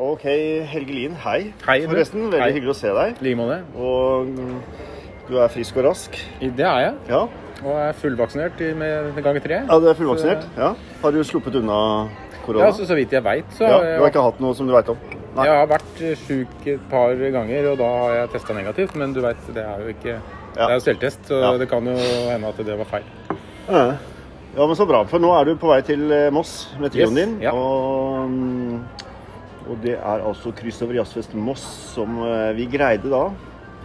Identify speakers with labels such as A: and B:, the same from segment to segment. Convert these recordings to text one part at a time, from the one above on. A: Ok, Helge Lien, hei.
B: Hei, du.
A: Forresten, veldig
B: Hei.
A: hyggelig å se deg.
B: I like måte.
A: Og mm, du er frisk og rask.
B: I- Det er jeg.
A: Ja,
B: Og er fullvaksinert i- med med gang tre.
A: ja du er fullvaksinert. Ja. Har du sluppet unna korona?
B: Ja, så, så vidt jeg veit, så
A: Ja,
B: har jeg-
A: Du har ikke hatt noe som du veit om? Nei.
B: Jeg har vært eh, sjuk et par ganger, og da har jeg testa negativt. Men du veit, det er jo ikke Det er jo selvtest, så
A: Ja.
B: det kan jo hende at det var feil.
A: Ja. Ja, men så bra. For nå er du på vei til eh, Moss med trioen
B: Yes,
A: din.
B: ja.
A: Og, mm, og det er altså kryss over jazzfest Moss som eh, vi greide da,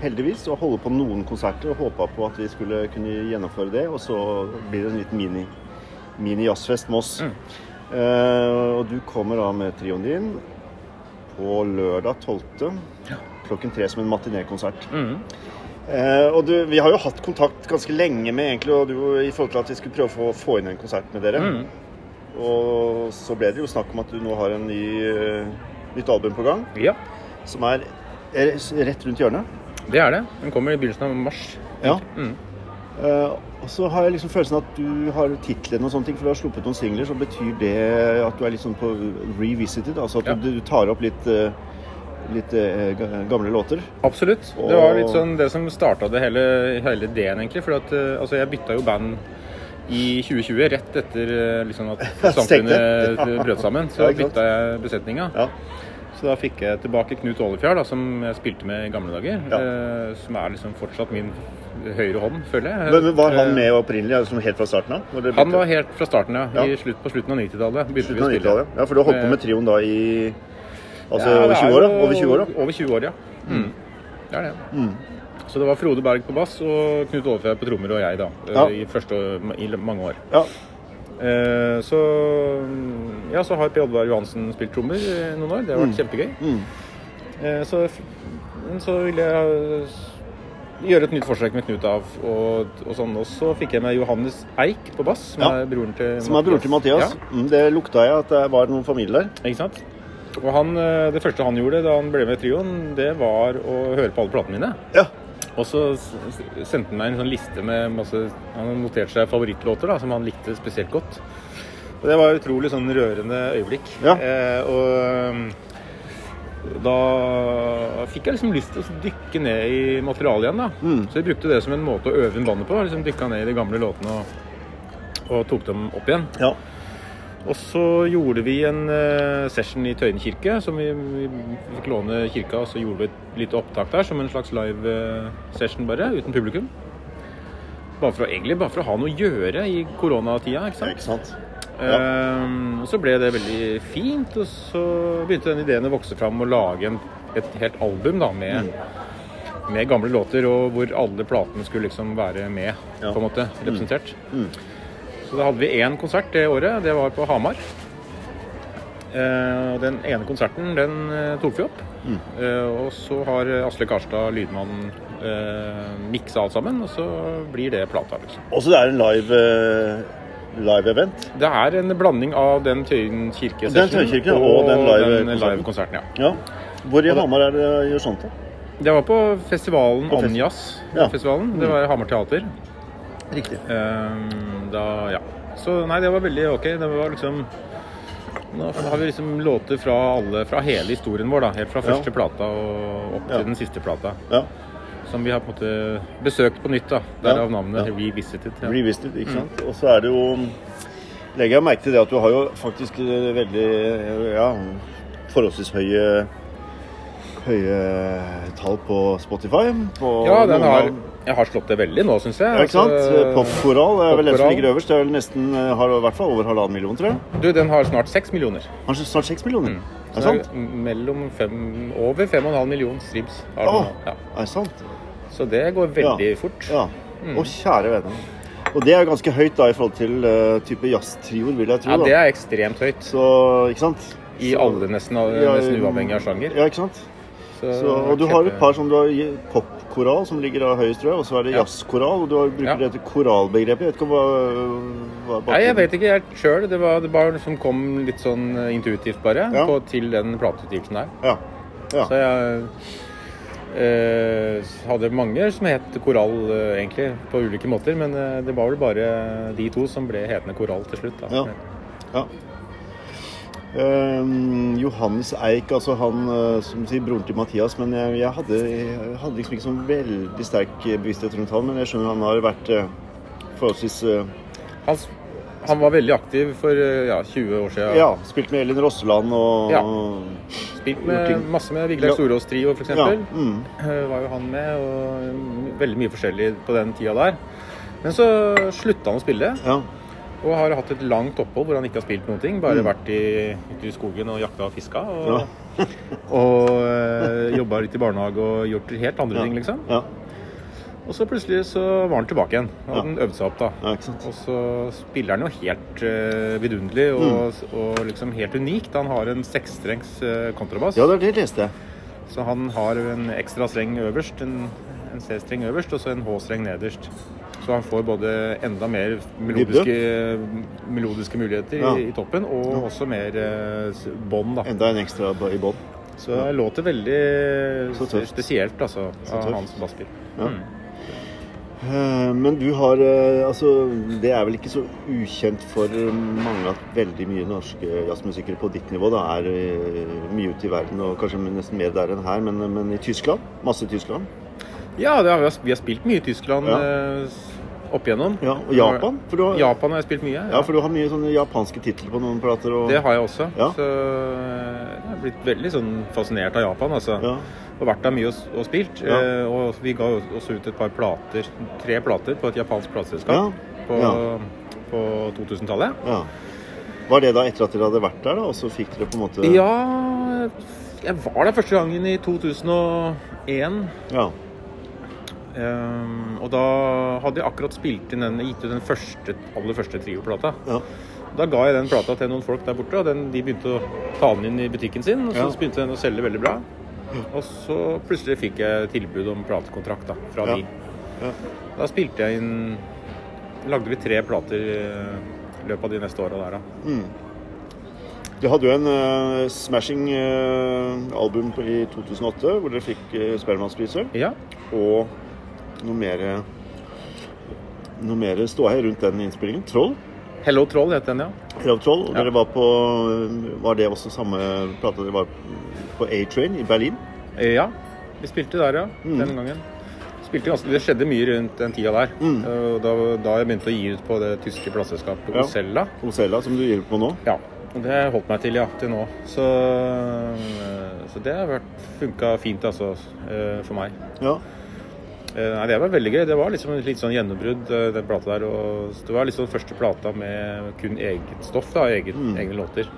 A: heldigvis, å holde på noen konserter. Og håpa på at vi skulle kunne gjennomføre det. Og så blir det en liten mini, mini jazzfest Moss.
B: Mm.
A: Eh, og du kommer da med trioen din på lørdag 12. klokken tre som en matinékonsert.
B: Mhm.
A: Eh, og du, vi har jo hatt kontakt ganske lenge med egentlig, og du, i forhold til at vi skulle prøve å få, få inn en konsert med dere.
B: Mhm.
A: Og så ble det jo snakk om at du nå har en ny, eh, nytt album på gang,
B: Ja,
A: som er, er s- rett rundt hjørnet.
B: det er det. Den kommer i begynnelsen av mars.
A: Ja.
B: Mhm.
A: Eh, og så har jeg liksom følelsen at du har titlene og sånne ting, for du har sluppet noen singler, så betyr det at du er litt sånn på revisited, altså at
B: Ja.
A: du, du tar opp litt, eh, litt eh, ga- gamle låter.
B: Absolutt. Det var litt sånn det som starta det hele, hele ideen, egentlig. For at, eh, altså, jeg bytta jo band i 2020, rett etter eh, liksom, at samfunnet
A: Stengte.
B: brøt sammen.
A: Ja,
B: Så
A: ikke sant?
B: bytta jeg besetninga.
A: Ja.
B: Så da fikk jeg tilbake Knut Ollefjær, da, som jeg spilte med i gamle dager.
A: Ja.
B: eh, som er liksom fortsatt min høyre hånd, føler jeg.
A: Men, men var
B: Eh,
A: han med opprinnelig, altså helt fra starten av? Når dere
B: Han
A: begynte?
B: var helt fra starten, ja.
A: Ja.
B: I slutt, på slutten av 90-tallet. begynte vi
A: Slutten
B: å
A: av
B: spille.
A: 90-tallet. Ja, for du har holdt på med
B: Eh,
A: trioen da i Altså
B: Ja,
A: over
B: det
A: 20
B: er
A: år, da?
B: jo
A: Over 20 år, Mm. da?
B: Over 20 år, ja. Mm. Det er det. Så det var Frode Berg på bass og Knut Ollefjær på trommer og jeg, da. eh,
A: Ja.
B: I, første, I mange år.
A: Ja.
B: Eh, så mm, Ja, så har Per Oddvar Johansen spilt trommer i noen år. Det har vært kjempegøy.
A: Mm.
B: Eh, så, f- men så ville jeg s- gjøre et nytt forsøk med Knut av, og, og sånn. Og så fikk jeg med Johannes Eik på bass, som
A: Ja.
B: er broren til
A: Som er broren til Mathias.
B: Ja,
A: Mm, det lukta jeg at det var noen familie der.
B: ikke sant? Og han, eh, det første han gjorde da han ble med i trioen, det var å høre på alle platene mine.
A: Ja.
B: Og så s- s- sendte han meg en sånn liste med masse Han hadde notert seg favorittlåter da, som han likte spesielt godt. Og det var et utrolig sånn rørende øyeblikk.
A: Ja.
B: Eh, og um, da fikk jeg liksom lyst til å dykke ned i materialet igjen, da.
A: Mm.
B: Så jeg brukte det som en måte å øve inn bandet på. liksom Dykka ned i de gamle låtene og, og tok dem opp igjen.
A: ja.
B: Og så gjorde vi en eh, session i Tøyen kirke, som vi, vi fikk låne kirka, og så gjorde vi et lite opptak der, som en slags live eh, session bare, uten publikum. Bare for å, egentlig bare for å ha noe å gjøre i koronatida, ikke sant?
A: Ikke sant?
B: Ehm, og så ble det veldig fint, og så begynte den ideen å vokse fram og lage en, et helt album da, med,
A: Mm.
B: med gamle låter, og hvor alle platene skulle liksom være med,
A: Ja.
B: på en måte, representert.
A: Mm.
B: Så da hadde vi én konsert det året, det var på Hamar. Eh, og den ene konserten, den eh, tok vi opp.
A: Mm.
B: Eh, og så har Asle Karstad, lydmannen, eh, miksa alt sammen, og så blir det plata, liksom.
A: Og så det er en live eh, live-event.
B: Det er en blanding av den Tøyen kirke
A: Den Tøyen kirke, ja, og den live-
B: konserten. Ja.
A: Ja. Hvor i Hamar er det eh, gjør sånt? da?
B: Det var på festivalen
A: På fest-
B: Onjas.
A: Ja. Mm.
B: Festivalen. Det var Hamar teater.
A: Riktig.
B: Ehm, da, ja. Så nei, det var veldig ok. Det var liksom Nå har vi liksom låter fra alle, fra hele historien vår, da. Helt fra
A: Ja.
B: første plata og opp
A: Ja.
B: til den siste plata.
A: Ja.
B: Som vi har på en måte besøkt på nytt, da. Derav navnet
A: Ja.
B: Revisited. Ja. Mm.
A: Revisited, ikke sant? Og så er det jo Legger jeg merke til det at du har jo faktisk eh, veldig eh, ja, forholdsvis høye høye tall på Spotify. På
B: ja,
A: noen
B: den har
A: av-
B: Jeg har slått det veldig nå, syns jeg.
A: Ja, ikke sant?
B: Altså,
A: Popkoral er vel den som
B: Popkoral.
A: ligger øverst. Det er vel nesten, eh, har i hvert fall over halvannen million, tror jeg.
B: Du, den har snart seks millioner.
A: Kanskje snart seks millioner. Er det
B: Mm. Så det
A: sant?
B: er mellom fem, over 5,5 millioner streams. har
A: Åh.
B: den nå. Ja.
A: Er det sant?
B: Så det går veldig fort.
A: Ja.
B: Mm.
A: Å, kjære vene. Og det er ganske høyt da i forhold til eh, type jazztrioer, vil jeg tro.
B: Ja,
A: da.
B: det er ekstremt høyt.
A: Så, ikke sant?
B: I
A: Så-
B: alle nesten,
A: Ja,
B: nesten uavhengig av sjanger.
A: Ja, ikke sant?
B: Så,
A: Så, og du har et
B: kjempe-
A: par som du har i- popkoral, som ligger da høyest, tror jeg. Og så er det
B: Ja.
A: jazzkoral, og du har, bruker
B: Ja.
A: dette koralbegrepet. Jeg vet ikke hva, hva
B: Nei, jeg vet ikke helt sjøl. Det var det var noe som kom litt sånn eh, intuitivt, bare,
A: Ja.
B: på, til den plateutgivelsen der.
A: Ja. Ja.
B: Så jeg eh, hadde mange som het Korall, eh, egentlig, på ulike måter. Men eh, det var vel bare de to som ble hetende Korall til slutt. Da.
A: Ja. Ja. Ehm, Johannes Eik, altså han eh, som sier broren til Mathias, men jeg, jeg, hadde, jeg hadde liksom ikke sånn veldig sterk eh, bevissthet rundt han, men jeg skjønner han har vært eh, forholdsvis eh,
B: Han, s- han var veldig aktiv for eh, ja, 20 år siden.
A: Ja, spilt med Elin Rosseland og
B: Ja. Spilt med
A: Gjort
B: masse med Vigleik
A: Ja.
B: Storås-trio, f.eks.
A: Ja,
B: eksempel
A: mm.
B: Eh, var jo han med, og mm, veldig mye forskjellig på den tida der. Men så slutta han å spille,
A: ja.
B: og har hatt et langt opphold hvor han ikke har spilt noen ting. Bare
A: Mm.
B: vært i, ute i skogen og jakta og fiska, og,
A: Ja.
B: og eh, jobba litt i barnehage og gjort helt andre
A: Ja.
B: ting, liksom.
A: Ja.
B: Og så plutselig så var han tilbake igjen. Og
A: Ja.
B: han øvde seg opp, da.
A: ja, ikke sant.
B: Og så spiller han jo helt eh, vidunderlig
A: Mm.
B: og, og liksom helt unikt. Han har en seksstrengs eh, kontrabass.
A: Ja, det er det jeg leste.
B: Så han har en ekstra streng øverst, en, en C-streng øverst og så en H-streng nederst. Så han får både enda mer melodiske, melodiske muligheter
A: Ja.
B: i, i toppen, og også mer eh, s- bånd, da.
A: Enda en ekstra b- i bånn.
B: Så det låter veldig
A: Så tøft.
B: spesielt, altså, av
A: tøft.
B: hans basspill.
A: Ja.
B: Mm.
A: Eh, Men du har eh, Altså, det er vel ikke så ukjent for mange at veldig mye norske jazzmusikere på ditt nivå da er eh, mye ute i verden, og kanskje nesten mer der enn her, men, eh, men i Tyskland? Masse i Tyskland?
B: Ja, det har, vi- vi har spilt mye i Tyskland
A: Ja.
B: eh, s- opp igjennom.
A: Ja, og Japan? For du har, ja.
B: Japan har jeg spilt mye.
A: for du har mye sånne japanske titler på noen plater og
B: Det har jeg også.
A: Ja.
B: Så eh, jeg har blitt veldig sånn fascinert av Japan, altså.
A: Ja.
B: og vært der mye og, s- og spilt.
A: Ja.
B: Eh, og vi ga jo også ut et par plater, tre plater, på et japansk
A: Ja.
B: plateselskap på,
A: Ja.
B: på 2000-tallet.
A: ja. Var det da etter at dere hadde vært der, da, og så fikk dere på en måte
B: Ja, jeg var der første gangen i 2001.
A: ja.
B: eh, og da hadde jeg akkurat spilt inn den, gitt ut den første, aller første trioplata.
A: ja.
B: Da ga jeg den plata til noen folk der borte, og den, de begynte å ta den inn i butikken sin. Og så
A: Ja.
B: begynte den å selge veldig bra. Og så plutselig fikk jeg tilbud om platekontrakt da, fra
A: Ja.
B: de.
A: Ja.
B: Da spilte jeg inn Lagde vi tre plater eh, i løpet av de neste åra der, da.
A: Du hadde jo en eh, smashing eh, album på- i 2008 hvor dere fikk uh, Spellemannspriser.
B: Ja.
A: Og noe mer Noe mer ståhei rundt den innspillingen. Troll.
B: 'Hello Troll' het den, ja.
A: Krav Troll. Og
B: Ja.
A: dere var på eh, Var det også samme plate dere var på A-Train i Berlin?
B: Eh, Ja. Vi spilte der, ja. Den gangen. Spilte ganske, det skjedde mye rundt den tida der.
A: Mm.
B: Eh, og Da, da jeg begynte å gi ut på det tyske plateselskapet
A: Ja.
B: Ocella.
A: Osella, som du gir på nå.
B: Ja, og det har jeg holdt meg til, ja, til nå. Så, øh, så det har vært funka fint, altså, øh, for meg.
A: Ja.
B: Eh, Nei, det var veldig gøy. Det var liksom et litt sånn gjennombrudd, eh, den plata der. Og så det var liksom første plata med kun eget stoff, da. Eget, Egne låter.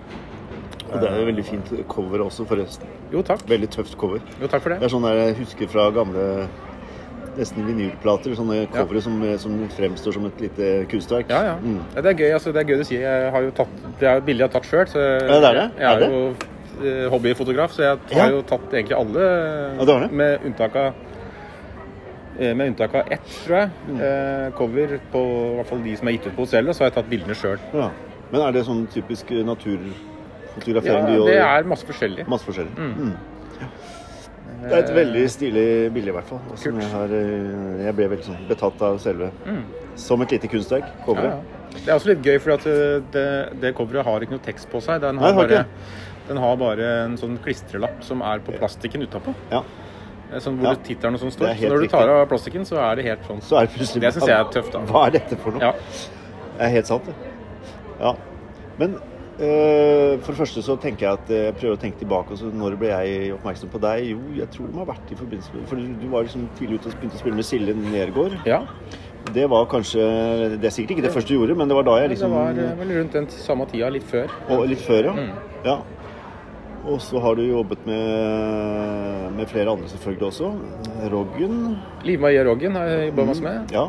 A: Og det er et veldig fint cover også, forresten.
B: Jo, takk.
A: Veldig tøft cover.
B: Jo, takk for
A: Det
B: det.
A: er sånn der jeg husker fra gamle nesten vinylplater. Sånne covere som, som fremstår som et lite kunstverk.
B: Ja, ja.
A: Mm.
B: ja. Det er gøy, altså. Det er gøy du sier. Jeg har jo tatt Det er jo billig jeg har tatt sjøl, så jeg,
A: Ja, det er det.
B: jeg
A: Er
B: er,
A: det?
B: jo eh, hobbyfotograf, så jeg
A: Ja.
B: har jo tatt egentlig alle,
A: Ja, det har du.
B: med unntak av eh, med unntak av ett, tror jeg.
A: Mm.
B: Eh, cover på i hvert fall de som er gitt ut på hotellet, så har jeg tatt bildene sjøl.
A: Ja. Men er det sånn typisk naturfotografering
B: Ja,
A: du gjør?
B: det er masse forskjellig.
A: Masse forskjellig. Mm. Det er et veldig stilig bilde, i hvert fall. og Som
B: Eh, Kult. Mm.
A: jeg, har, eh, jeg ble veldig sånn betatt av selve. Som et lite kunstverk.
B: Ja,
A: Coveret.
B: ja. Det er også litt gøy, for at eh, det, det coveret har ikke noe tekst på seg. Den
A: Nei,
B: har,
A: det har
B: bare,
A: ikke.
B: den har bare en sånn klistrelapp som er på plastikken utapå.
A: Ja.
B: Eh, Sånn hvor
A: Ja.
B: det tittelen og sånn
A: Det er
B: står. Så
A: helt
B: når du
A: riktig.
B: tar av plastikken, så er det helt sånn.
A: Så er det plutselig
B: Det synes jeg er tøft, da.
A: Hva er dette for noe?
B: Ja.
A: Det er helt sant, det. Ja. Men eh, for det første så tenker jeg at eh, jeg prøver å tenke tilbake. Og så når ble jeg oppmerksom på deg? Jo, jeg tror det må ha vært i forbindelse med For du, du var liksom tidlig ute og begynte å spille med Silje Nergård.
B: ja.
A: Det var kanskje Det er sikkert ikke det første du gjorde, men det var da jeg
B: Det
A: liksom
B: var Mm. eh, vel rundt den samme tida, litt før.
A: Og litt før, ja. ja. Og så har du jobbet med, med flere andre selvfølgelig også. Roggen.
B: Liv Marie Roggen har jeg jobba masse med.
A: Ja.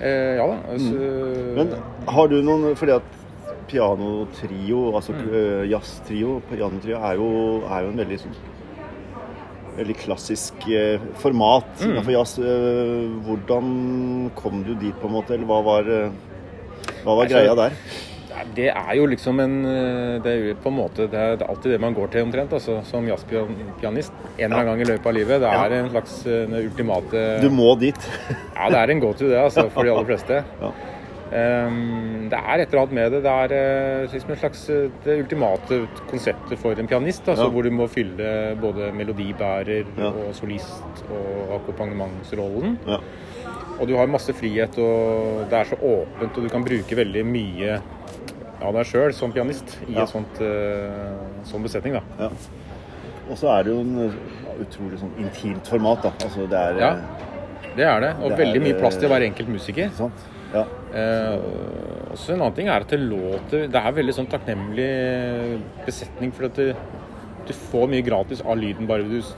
B: Eh, ja da. Så,
A: Mm. Men har du noen Fordi at pianotrio, altså
B: Mm.
A: eh, jazztrio, pianotrio er jo, er jo en veldig sånn Veldig klassisk eh, format
B: Mm.
A: innenfor jazz. Eh, hvordan kom du dit, på en måte? Eller hva var, eh, hva var
B: Nei, så-
A: greia der?
B: Nei, Det er jo liksom en eh, Det er jo på en måte Det er det er alltid det man går til omtrent, altså, som jazzpianist. En eller annen gang i løpet av livet. Det
A: Ja.
B: er en slags eh, den ultimate
A: Du må dit.
B: Ja, det er en go-to, det, altså, for de aller fleste.
A: Ja.
B: Ehm, Det er et eller annet med det. Det er eh, liksom en slags eh, det ultimate konseptet for en pianist. Altså,
A: Ja.
B: Hvor du må fylle både melodibærer
A: Ja.
B: og solist og akkompagnementsrollen.
A: Ja.
B: Og du har masse frihet, og det er så åpent, og du kan bruke veldig mye av deg sjøl som pianist i
A: Ja.
B: en sånt, eh, sånn besetning. da.
A: Ja. Og så er det jo en ja, utrolig sånn intimt format, da. Altså det er
B: Ja.
A: eh,
B: Det er det. Og
A: Det er,
B: veldig mye plass til
A: eh,
B: hver enkelt musiker.
A: Ikke sant? Ja.
B: Eh, og så en annen ting er at det låter Det er veldig sånn takknemlig besetning, for at det, du får mye gratis av lyden bare du s-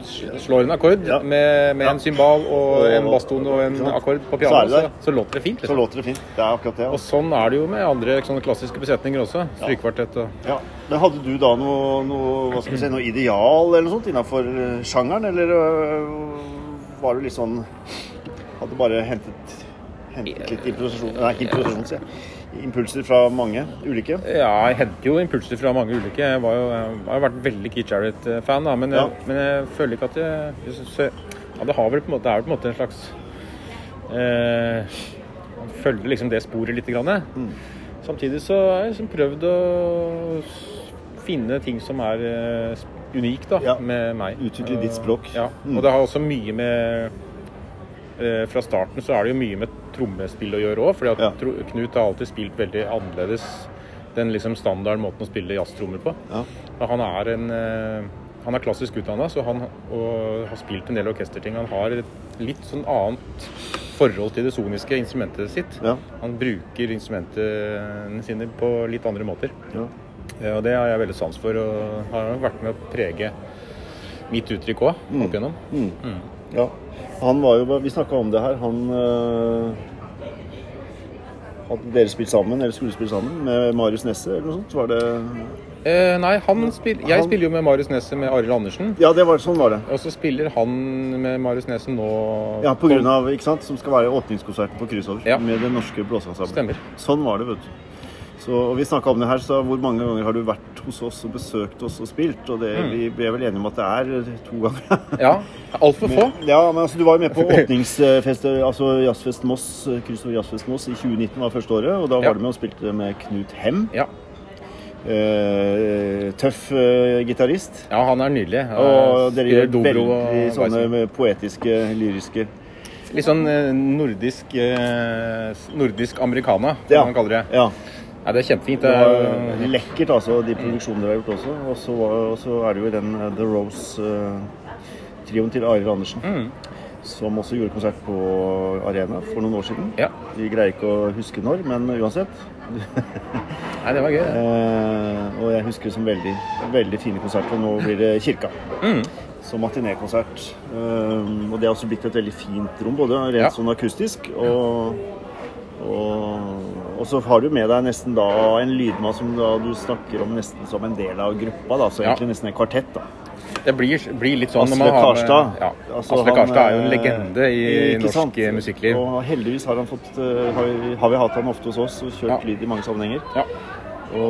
B: s- slår en akkord
A: Ja.
B: med, med
A: Ja.
B: en cymbal og,
A: Og-
B: en baston og en
A: ikke sant?
B: akkord på
A: Så er
B: piano,
A: det
B: så,
A: der.
B: så, låter det fint.
A: Så
B: Liksom.
A: låter det fint. Det er akkurat det.
B: Og
A: Altså.
B: sånn er det jo med andre sånne klassiske besetninger også. Strykekvartett og
A: Ja. Men hadde du da noe, noe, hva skal vi si, noe ideal eller noe sånt innafor sjangeren, eller øh, var du litt sånn Hadde bare hentet, hentet litt improvisasjon Nei, ikke improvisasjon, sier jeg. Impulser fra mange ulike.
B: Ja, jeg henter jo impulser fra mange ulike. Jeg, var jo, jeg har jo vært veldig Keith Jarrett-fan, da, men, jeg,
A: Ja.
B: men jeg føler ikke at jeg, jeg synes jeg ja, det, har vel på en måte, det er vel på en måte en slags eh, Man følger liksom det sporet litt. Grann, jeg.
A: Mm.
B: Samtidig så har jeg liksom prøvd å s- finne ting som er eh, unikt da,
A: Ja.
B: med meg.
A: Utvikle ditt
B: Og-
A: språk.
B: Ja,
A: Mm.
B: og det har også mye med eh, fra starten så er det jo mye med trommespill å gjøre òg. For
A: Ja.
B: Knut har alltid spilt veldig annerledes den liksom standard måten å spille jazztrommer på.
A: Ja.
B: Og Han er, en, eh, han er klassisk utdanna og har spilt en del orkesterting. Han har et litt sånn annet forhold til det soniske instrumentet sitt.
A: Ja.
B: Han bruker instrumentene sine på litt andre måter.
A: ja.
B: Ja, og det har jeg veldig sans for, og har nok vært med å prege mitt uttrykk òg, opp igjennom.
A: Mm. Ja. Han var jo Vi snakka om det her. Han øh, Hadde dere spilt sammen, eller skulle spille sammen, med Marius Nesse eller noe sånt? Var det
B: Eh, nei, han spil, jeg
A: Han-
B: spiller jo med Marius Neset med Arild Andersen.
A: Ja, det var, sånn var det.
B: Og så spiller han med Marius Nesen nå
A: Ja, på grunn av, ikke sant, som skal være åpningskonserten på Kryssover
B: Ja.
A: med den norske blåseensemble.
B: Stemmer.
A: Sånn var det, vet du. Så, og vi snakka om det her, så hvor mange ganger har du vært hos oss og besøkt oss og spilt? Og
B: Mm.
A: det, vi ble vel enige om at det er to ganger.
B: Ja. Altfor få.
A: ja, men altså, du var jo med på åpningsfest, altså Jazzfest Moss, Kryssover Jazzfest Moss i 2019 var første året. Og da
B: Ja.
A: var du med og spilte med Knut Hem.
B: Ja.
A: Eh, tøff eh, gitarist.
B: ja, han er nydelig. Eh,
A: Og dere gjør
B: Spiller
A: veldig
B: dobro og
A: sånne
B: bison.
A: poetiske, lyriske
B: Litt sånn eh, nordisk eh, nordisk americana, som
A: Ja.
B: man kaller det.
A: Ja.
B: Ja, det er kjempefint. Eh,
A: Det
B: Det
A: var
B: er,
A: jo lekkert, altså, de produksjonene dere har gjort også. Og så var- Og så er det jo i den eh, The Rose-trioen til Arild Andersen, som også gjorde konsert på Arena for noen år siden.
B: ja.
A: Vi greier ikke å huske når, men uansett.
B: Nei, det var gøy. det.
A: Eh, og jeg husker det som veldig, veldig fine konserter. og Nå blir det kirka.
B: Mm.
A: Som matinékonsert. Eh, og det har også blitt et veldig fint rom, både rent
B: Ja.
A: sånn akustisk og, og Og så har du med deg nesten da en lydmann som da du snakker om nesten som en del av gruppa, da. Så
B: Ja.
A: egentlig nesten en kvartett, da.
B: Det blir, blir litt sånn når
A: Asle
B: man har med-
A: Karstad.
B: Ja.
A: Altså,
B: Asle
A: han,
B: Karstad er jo en
A: eh,
B: legende i
A: ikke sant?
B: norsk eh, musikkliv.
A: Og heldigvis har, han fått, eh, har, vi, har vi hatt han ofte hos oss og kjørt
B: Ja.
A: lyd i mange sammenhenger.
B: Ja.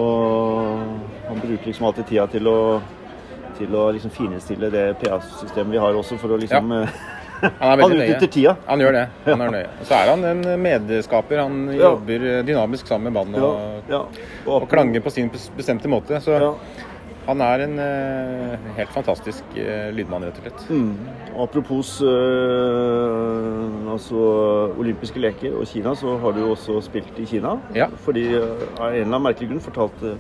A: Og han bruker liksom alltid tida til å, til å liksom finstille det PA-systemet vi har også, for å liksom eh,
B: Han er
A: Han
B: veldig nøye.
A: utnytter tida.
B: Han gjør det. Han er nøye. Og så er han en medskaper. Han
A: Ja.
B: jobber eh, dynamisk sammen med bandet
A: Ja,
B: og,
A: ja.
B: og klanger på sin bes- bestemte måte. Så
A: Ja.
B: han er en eh, helt fantastisk eh, lydmann, rett og slett.
A: Mm. Apropos eh, altså, olympiske leker og Kina, så har du jo også spilt i Kina.
B: Ja.
A: Fordi eh, av en eller annen merkelig grunn fortalte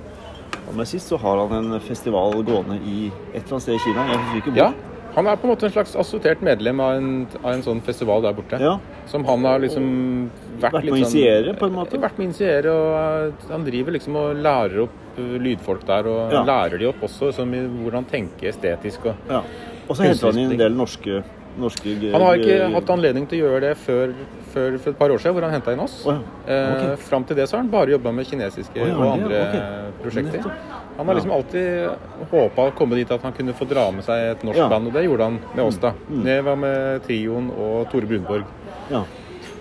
A: han meg sist, så har han en festival gående i et eller annet sted i Kina. Jeg husker ikke hvor.
B: Ja. Han er på en måte en slags assortert medlem av en, av en sånn festival der borte.
A: Ja.
B: Som han har liksom vært,
A: Vært med
B: litt
A: å
B: sånn-
A: initiere, på en måte?
B: Vært med å initiere, og eh, han driver liksom og lærer opp eh, lydfolk der. Og
A: Ja.
B: lærer de opp også som i hvordan tenke estetisk og
A: Ja. Og så henter han inn en del norske, norske
B: Han har ikke hatt anledning til å gjøre det før, før for et par år siden, hvor han henta inn oss.
A: Å ja, ok.
B: eh, fram til det så har han bare jobba med kinesiske
A: Å ja,
B: og
A: det,
B: andre
A: ok.
B: prosjekter.
A: Nettopp.
B: Han har liksom alltid håpa å komme dit at han kunne få dra med seg et norsk
A: Ja. Mm,
B: band, og det gjorde han med oss, da. Det var med Trioen og Tore Brunborg.
A: Ja.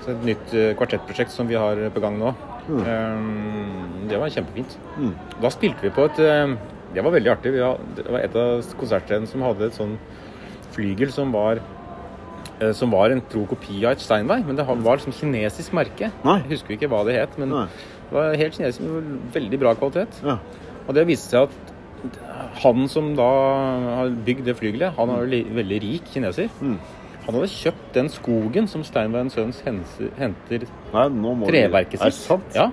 B: Så et nytt eh, kvartettprosjekt som vi har på gang nå. Eh, det var kjempefint.
A: Mm.
B: Da spilte vi på et eh, Det var veldig artig. Vi har- det var et av konsertstedene som hadde et sånn flygel som var eh, som var en tro kopi av et Steinway, men det har- var liksom kinesisk merke.
A: Nei.
B: Jeg husker ikke hva det het, men
A: Nei.
B: det var helt kinesisk, men veldig bra kvalitet.
A: Ja.
B: Og det viste seg at han som da har bygd det flygelet, han er jo li- veldig rik kineser.
A: Mm.
B: Han hadde kjøpt den skogen som Steinway Sons hense- henter
A: Nei, nå må du-
B: treverket sitt.
A: Er det sant?
B: Ja.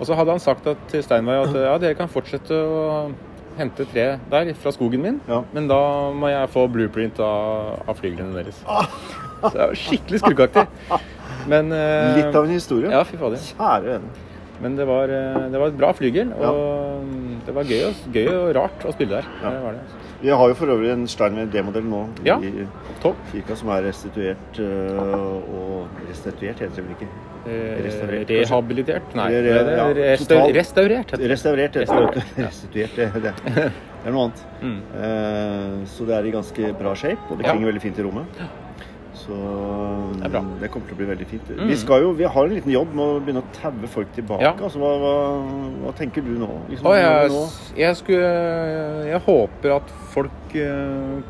B: Og så hadde han sagt at, til Steinway at ja, dere kan fortsette å hente tre der fra skogen min,
A: Ja.
B: men da må jeg få blueprint av, av flyglene deres. Så det er jo skikkelig skurkeaktig. Men eh,
A: Litt av en historie.
B: Ja, fy fader.
A: Kjære vene.
B: Men det var, eh, det var et bra flygel, og
A: Ja.
B: mm, det var gøy og, gøy og rart å spille der.
A: Ja.
B: Det var det.
A: Vi har jo for øvrig en Steinway D-modell nå
B: Ja.
A: i
B: Topp.
A: kirka som er restituert øh, og Restituert heter det vel ikke?
B: Eh,
A: Restaurert, kanskje?
B: Rehabilitert? Nei,
A: Re-
B: det er
A: ja,
B: resta
A: total-
B: restaurert. heter det.
A: Restaurert heter det.
B: Restaurert, ja.
A: Restituert, det, det. det er noe annet.
B: Mm.
A: Eh, Så det er i ganske bra shape, og det
B: Ja.
A: klinger veldig fint i rommet. Så
B: Det er bra.
A: det kommer til å bli veldig fint.
B: Mm.
A: Vi, skal jo, vi har en liten jobb med å begynne å taue folk tilbake.
B: Ja.
A: Altså, hva, hva, hva tenker du nå? Liksom,
B: Og jeg,
A: nå?
B: jeg skulle Jeg håper at folk eh,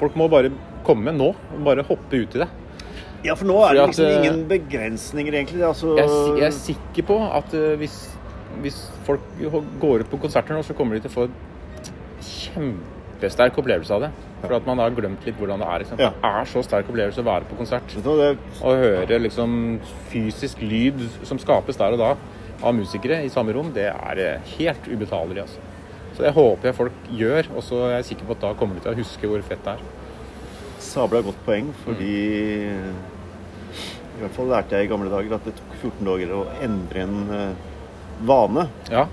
B: Folk må bare komme nå. Bare hoppe uti det.
A: Ja, for nå er det
B: Fordi
A: liksom
B: at, eh,
A: ingen begrensninger, egentlig. Det er Altså,
B: Jeg, er si- jeg er sikker på at eh, hvis, hvis folk går ut på konserter nå, så kommer de til å få en kjempesterk opplevelse av det. For at man har glemt litt hvordan det er. Liksom.
A: Ja.
B: Det er så sterk opplevelse å være på konsert.
A: Vet du hva,
B: Å høre liksom fysisk lyd som skapes der og da av musikere i samme rom, det er eh, helt ubetalelig, altså. Så det håper jeg folk gjør, og så er jeg sikker på at da kommer de til å huske hvor fett det er.
A: det sabla godt poeng, fordi I hvert fall lærte jeg i gamle dager at det tok 14 dager å endre en eh, vane.
B: Ja.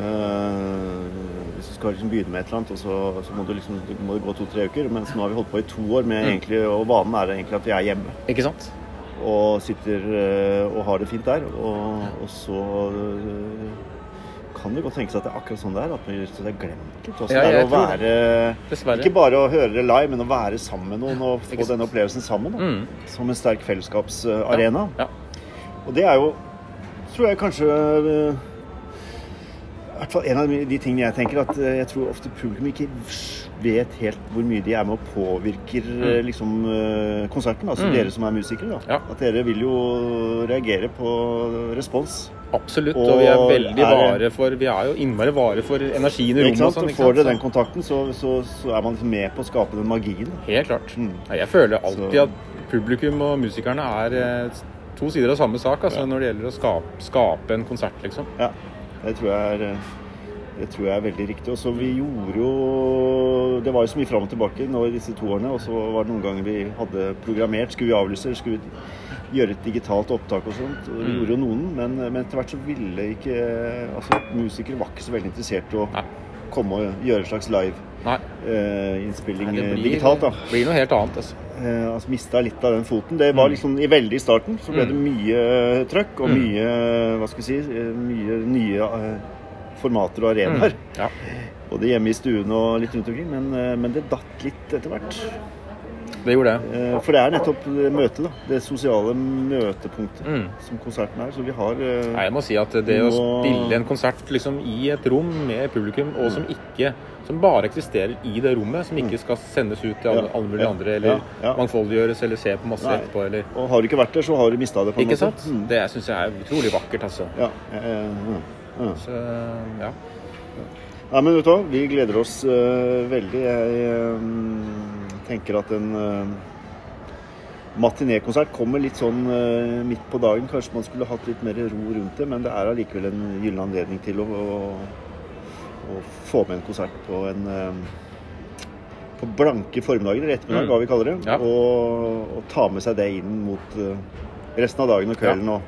A: Eh, hvis du skal liksom begynne med et eller annet, og så, så må, du liksom, må det gå to-tre uker. Mens nå har vi holdt på i to år,
B: Mm.
A: med egentlig, og vanen er egentlig at vi er hjemme.
B: Ikke sant?
A: Og sitter eh, og har det fint der. Og, og så eh, kan det godt tenkes at det er akkurat sånn det er. At vi så det er glemt litt hvordan det
B: Ja,
A: er
B: jeg
A: å
B: tror
A: være
B: Dessverre.
A: Ikke bare å høre det live, men å være sammen med noen og få
B: Ikke sant.
A: denne opplevelsen sammen. Da,
B: Mm.
A: Som en sterk fellesskapsarena.
B: Ja.
A: Og det er jo, tror jeg kanskje eh, i hvert fall en av de tingene jeg tenker at eh, jeg tror ofte publikum ikke vet helt hvor mye de er med og påvirker eh, liksom, eh, konserten. Altså
B: Mm.
A: dere som er musikere. Da.
B: Ja.
A: At dere vil jo reagere på respons.
B: Absolutt.
A: Og
B: Og vi er veldig
A: er-
B: vare for Vi er jo innmari vare for energien i
A: Ikke
B: rommet og
A: sant?
B: sånn.
A: Og
B: ikke
A: får dere
B: sant?
A: den kontakten, så, så, så er man liksom med på å skape den magien.
B: Så- Helt klart.
A: Mm.
B: Nei, Jeg føler alltid
A: Så-
B: at publikum og musikerne er eh, to sider av samme sak altså, når det gjelder å skape, skape en konsert, liksom.
A: Ja, det tror jeg er, eh, det tror jeg er veldig riktig. Og så vi gjorde jo Det var jo så mye fram og tilbake nå i disse to årene. Og så var det noen ganger vi hadde programmert. Skulle vi avlyse, eller skulle vi gjøre et digitalt opptak og sånt? Og vi
B: Mm.
A: gjorde jo noen, men, men etter hvert så ville ikke Altså, musikere var ikke så veldig interessert i å
B: Nei.
A: komme og gjøre en slags live.
B: Nei,
A: eh, innspilling
B: nei, det
A: eh,
B: blir,
A: digitalt, da.
B: blir noe helt annet, altså.
A: Eh, altså Mista litt av den foten. Det var
B: Mm.
A: liksom i veldig starten. Så ble
B: Mm.
A: det mye eh, trøkk og
B: Mm.
A: mye eh, hva skal vi si, eh, mye nye eh, formater og
B: Mm.
A: arenaer.
B: Ja.
A: Både hjemme i stuen og litt rundt omkring. Men, eh, men det datt litt etter hvert.
B: Det gjorde det.
A: Eh, for det er nettopp det møtet, da. Det sosiale møtepunktet
B: Mm.
A: som konserten er. Så vi har eh,
B: Nei, jeg må si at det å
A: Nå-
B: spille en konsert liksom, i et rom med publikum, og
A: Mm.
B: som ikke som bare eksisterer i det rommet, som ikke skal sendes ut til alle,
A: Ja,
B: alle mulige
A: ja,
B: andre, eller
A: ja, ja.
B: mangfoldiggjøres, eller se på masse
A: Nei.
B: etterpå, eller
A: Og har du ikke vært der, så har du mista det. på en
B: Ikke
A: måte.
B: sant?
A: Mm.
B: Det syns jeg er utrolig vakkert, altså.
A: Ja, eh, mm, mm.
B: Så, ja.
A: Nei, men vet du hva? Vi gleder oss eh, veldig. Jeg eh, tenker at en uh, matinékonsert kommer litt sånn eh, midt på dagen. Kanskje man skulle hatt litt mer ro rundt det, men det er allikevel en gyllen anledning til å, å, å få med en konsert på en eh, på blanke formiddager, eller ettermiddag,
B: Mm.
A: hva vi kaller det.
B: Ja.
A: Og, og ta med seg det inn mot eh, resten av dagen og kvelden. og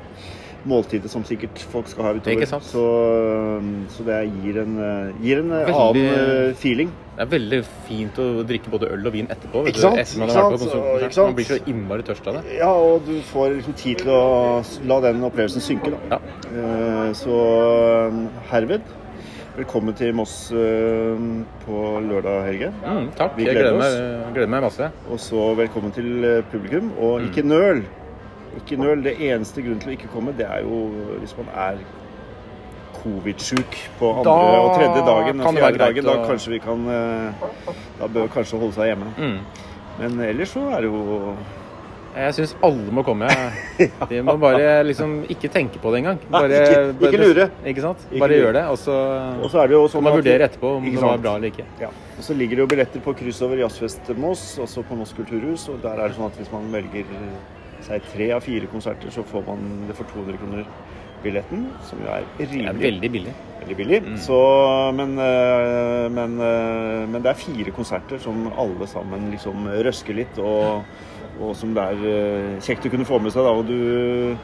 A: måltidet som sikkert folk skal ha utover.
B: Ikke sant?
A: Så, um, så det gir en, eh, gir en eh,
B: Veldig-
A: annen eh, feeling.
B: Det er veldig fint å drikke både øl og vin etterpå. vet
A: Ikke
B: du,
A: sant?
B: Etter man
A: Ikke
B: har vært på
A: sant?
B: konsert.
A: Ikke sant?
B: Man blir så innmari tørst av det.
A: Ja, og du får liksom tid til å s- la den opplevelsen synke, da.
B: Ja.
A: Eh, Så eh, herved, velkommen til Moss eh, på lørdag, Helge.
B: Mm, takk.
A: Vi
B: Jeg
A: gleder
B: gleder
A: oss.
B: meg, gleder meg masse.
A: Og så velkommen til eh, publikum. Og
B: Mm.
A: ikke nøl. Ikke nøl. Det eneste grunnen til å ikke komme, det er jo hvis man er covid-sjuk på andre
B: Da
A: og tredje dagen. og
B: kan det være
A: fjerde dagen, Da
B: greit å-
A: kanskje vi kan eh, Da bør kanskje holde seg hjemme.
B: Mm.
A: Men ellers så er det jo
B: Jeg syns alle må komme. jeg. De må bare liksom ikke tenke på det engang. Bare,
A: Ikke- ikke
B: bare-
A: lure.
B: Ikke sant?
A: Ikke
B: Bare
A: lure.
B: gjør det, og så
A: Og så er det jo
B: kan
A: sånn
B: man
A: at-
B: vurdere etterpå om
A: Ikke
B: det var
A: sant?
B: bra eller ikke.
A: Ja. Og så ligger det jo billetter på kryss over Jazzfest Moss, også på Moss kulturhus. Og der er det sånn at hvis man velger eh, seg tre av fire konserter, så får man det for 200 kroner billetten, som jo er
B: Det er
A: rimelig
B: veldig billig.
A: veldig billig.
B: Mm.
A: Så, men, øh, men, øh, men det er fire konserter som alle sammen liksom røsker litt, og, og som det er øh, kjekt å kunne få med seg. Da. Og du,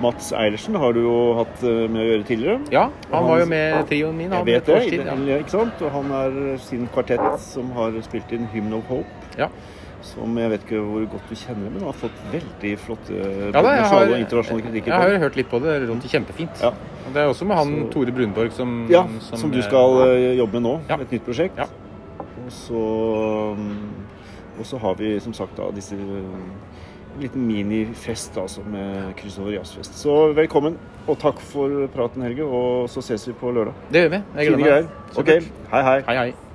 A: Mats Eilertsen har du jo hatt øh, med å gjøre tidligere.
B: Ja, han
A: Han-
B: var jo med i trioen min.
A: Jeg
B: Han,
A: vet
B: et års
A: det,
B: tid, ja.
A: i- ikke sant? Og han er sin kvartett som har spilt inn Hymn of Hope.
B: Ja.
A: Som jeg vet ikke hvor godt du kjenner, men har fått veldig flotte
B: Ja, da, jeg, har,
A: nasjonale og internasjonale
B: jeg,
A: kritikker.
B: har hørt litt på det. Det låter kjempefint.
A: Ja.
B: Og Det er også med han
A: Så-
B: Tore Brunborg Mm, som
A: ja, som, du skal
B: eh,
A: eh, jobbe med nå.
B: Ja.
A: Et nytt prosjekt.
B: Ja.
A: Og så um, og så har vi som sagt da disse um, en liten minifest da, som er kryss over jazzfest. Så velkommen, og takk for praten, Helge. Og så ses vi på lørdag.
B: Det gjør vi. Jeg
A: Fine
B: gleder meg.
A: greier. Ok,
B: Supert.
A: hei hei.
B: Hei, hei.